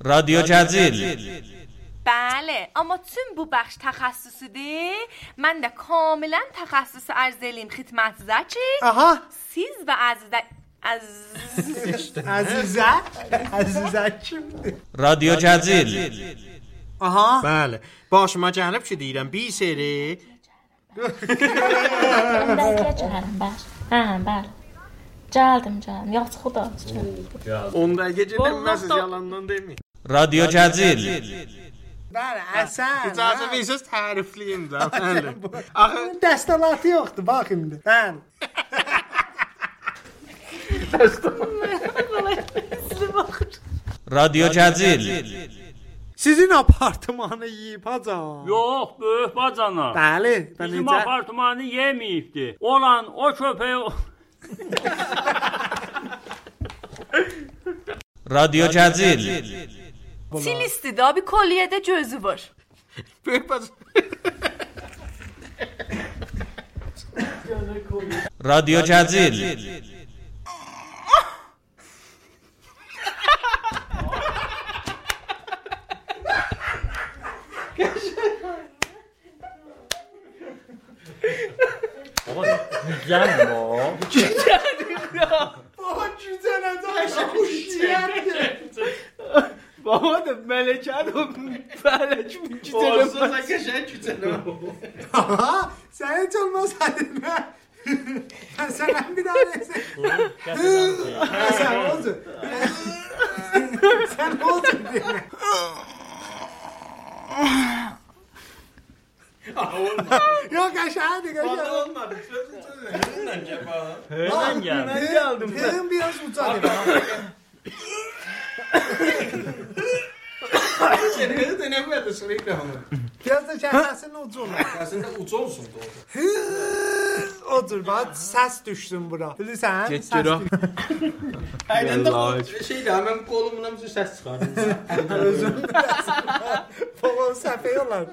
رادیو جزیل بله اما چون بو بخش تخصصی ده من ده کاملا تخصص ارزلیم خدمت زکی Aha سیز و از ده- از Azize Azize kimdir? رادیو جزیل Aha Bəli. Başıma gəlib ki, deyirəm, bir seri Bəli, gəldim, bəli. Hə, bəli. Gəldim, gəldim. Yaxşı, xuda. şükür. onda gecə deməsiz yalandan deməyin. رادیو جزیل Bəli, əsən İcazə hə. versiniz tərifliyim də. Hə. Bəli. Axı Bunun dəstəlatı yoxdur, bax indi Bəli رادیو جزیل Sizin apartmanı yeyib hacam Yox, böyük bacana. Bəli, bən Bizim necə apartmanı yeməyibdi. Olan o köpəyi o- رادیو جزیل Sil istida bir kolyede gözü var. böyük bac رادیو جزیل Aha, sən heç olmasaydın hə. Mən sənə bir daha desəm Sən olsun Sən olsun deyirəm Yox, qəşəngdir, qəşəngdir olmadı. Sözün sözün. Nədən gəl? Heydən gəldi. geldim. Hırım biraz uzadı. Sən nədən əvvəldə sürüklə onu. Biraz da şəhərsinin ucu olur. Əslində uc olsun da. Odur bak ses düşsün bura. Bilirsən? Geç gero. Əydəndə şey də mən qolumla bir səs çıxardım. Babam səfəy olar.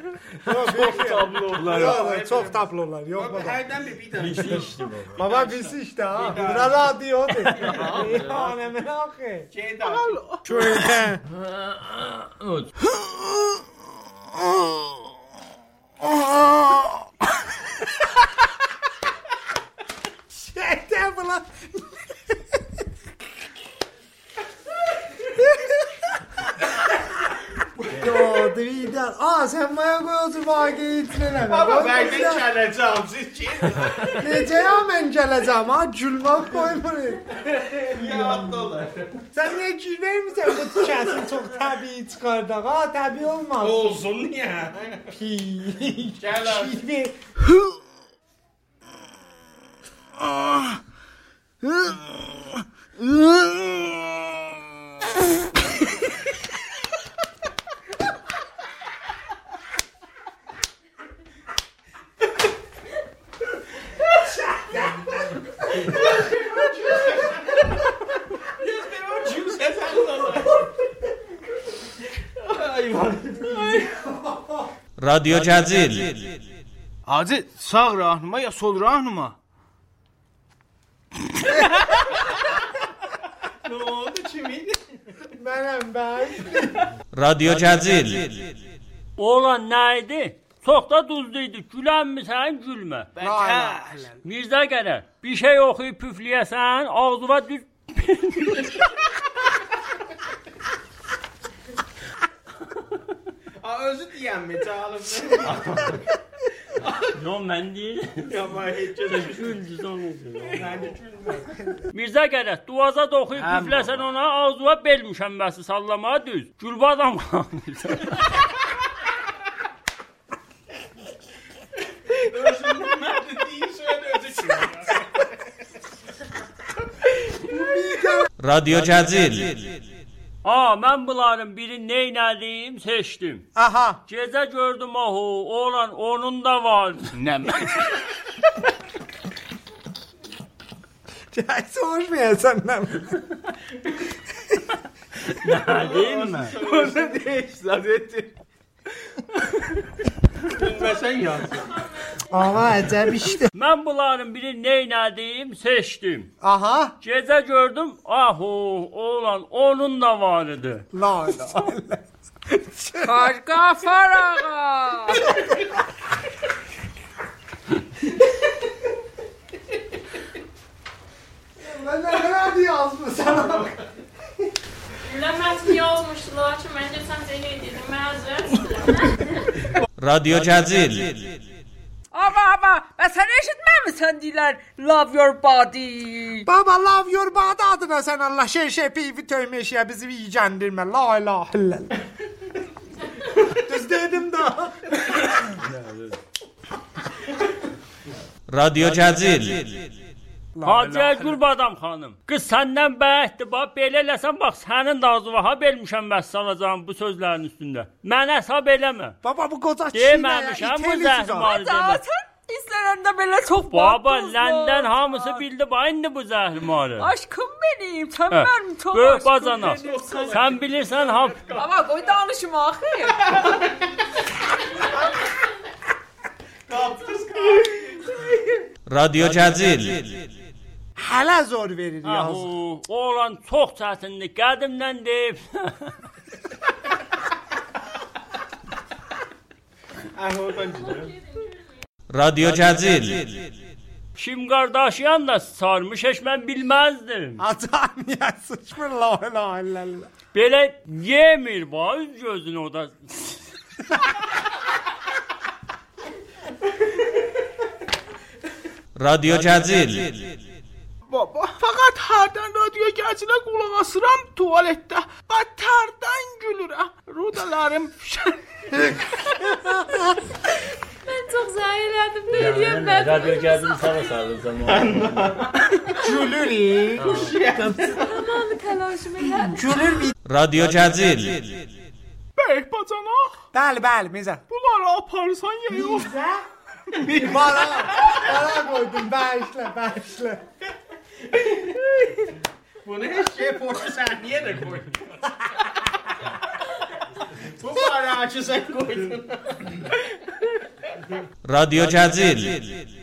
Çok tablolar. Yok çok tablolar. Yok baba. şey Hərdən bir bir dənə. Baba biz işte ha. Buna radyo de. Ya ne merak et. Şey də. Şöyle. Şeyde bu lan. Yo, Dridan. Aa sen bana koyuyorsun bagi itmene. Baba bəlkə gələcəm siz ki. Neceye ben geleceğim ha? Cülmak koy buraya. Ya dolar. Sen niye gül vermişsin bu kesin çok tabii çıkardı. Ha tabii olmaz. Olsun niyə? Pi. Gəl abi. Şimdi رادیو جزیل Hacı sağ rahnıma ya sol rahnıma? ne oldu kimin? benim ben. رادیو جزیل Olan nə idi? Çox da duzlu idi. Gülənmisən, gülmə. Mirzə gələ. Bir şey oxuyub püfləyəsən, ağzına düz A özü deyən mi canım? Yo mən deyirəm. ya vay heç Güldüz onu. Mirzə gələ. Duvaza da oxuyub püfləsən ona, ağzına bel müşəmməsi sallamağa düz. Gülbə adam qalmırsan. Özünü mən dediyi söylə özü kimin? رادیو جزیل A, mən bunların birini neynədim, seçdim. Aha. Gecə gördüm ahu, oğlan onun da var. Nə Soruşmayan senden. deyim mi? Özü deyiş zadetti. Bilməsən yansın. Ama acayip işti. Mən bunların biri neynədim, seçdim. Aha. Gecə gördüm, ahu, oğlan onun da var idi. La la. Kargafar ağa. Ben ne kadar yazmış sana. Bilemez ki yazmışlar ki bence sen Zeynep edilmezdin. رادیو جزیل Ama ama ben sen eşitmemişsin diler. Love your body. Baba love your body adına sen Allah şey şey pivi tövmeş ya bizi yiyeceğindirme. La la la. Düz dedim daha. رادیو جزیل Hacı Əgül Badam xanım, qız səndən bəhətdir, bax, belə eləsən, bax, sənin də ağzı var, ha, belmişəm bəs sanacağım bu sözlərin üstündə. Mənə hesab eləmə. Baba bu koca çiğne ya. Deməmişəm bu İteliyorsun ha. zəhmar demə. Zaten izlerinde böyle çok Baba, baktınız mı? ləndən hamısı bildi, bax, indi bu zəhmarı. Aşkım benim. Sen Hə, benim çok Böyük aşkım bacana, benim. sən bilirsən, ha, Ama koy danışım ahı. رادیو جزیل Hala zor verir Ah, yaz. Ahu, oğlan çox çətindir, qədimdən deyib. Ah, رادیو جزیل Kim Kardashian da sarmış, heç mən bilməzdim. Atan ya sıçmır la la la la. Belə yemir, bax, üz gözünü o da. رادیو جزیل Baba, faqat hərdən radioya gəcinə qulaq asıram tualetdə. Battardan gülürəm. Rudalarım Ben çok zahirlendim. Ne diyeyim ben? gəldim sənə sarıldım zaman. Gülür. Tamamı telaşımı elədim. Gülür bir. رادیو جزیل bəy bacanaq. Bəli bəli mizah. Bunları aparsan ya yox. Bana. Bana koydum. Bağışla bağışla. Bunu heç şey portu səhniyə də qoy. Bu barəçi sən qoydun. رادیو جزیل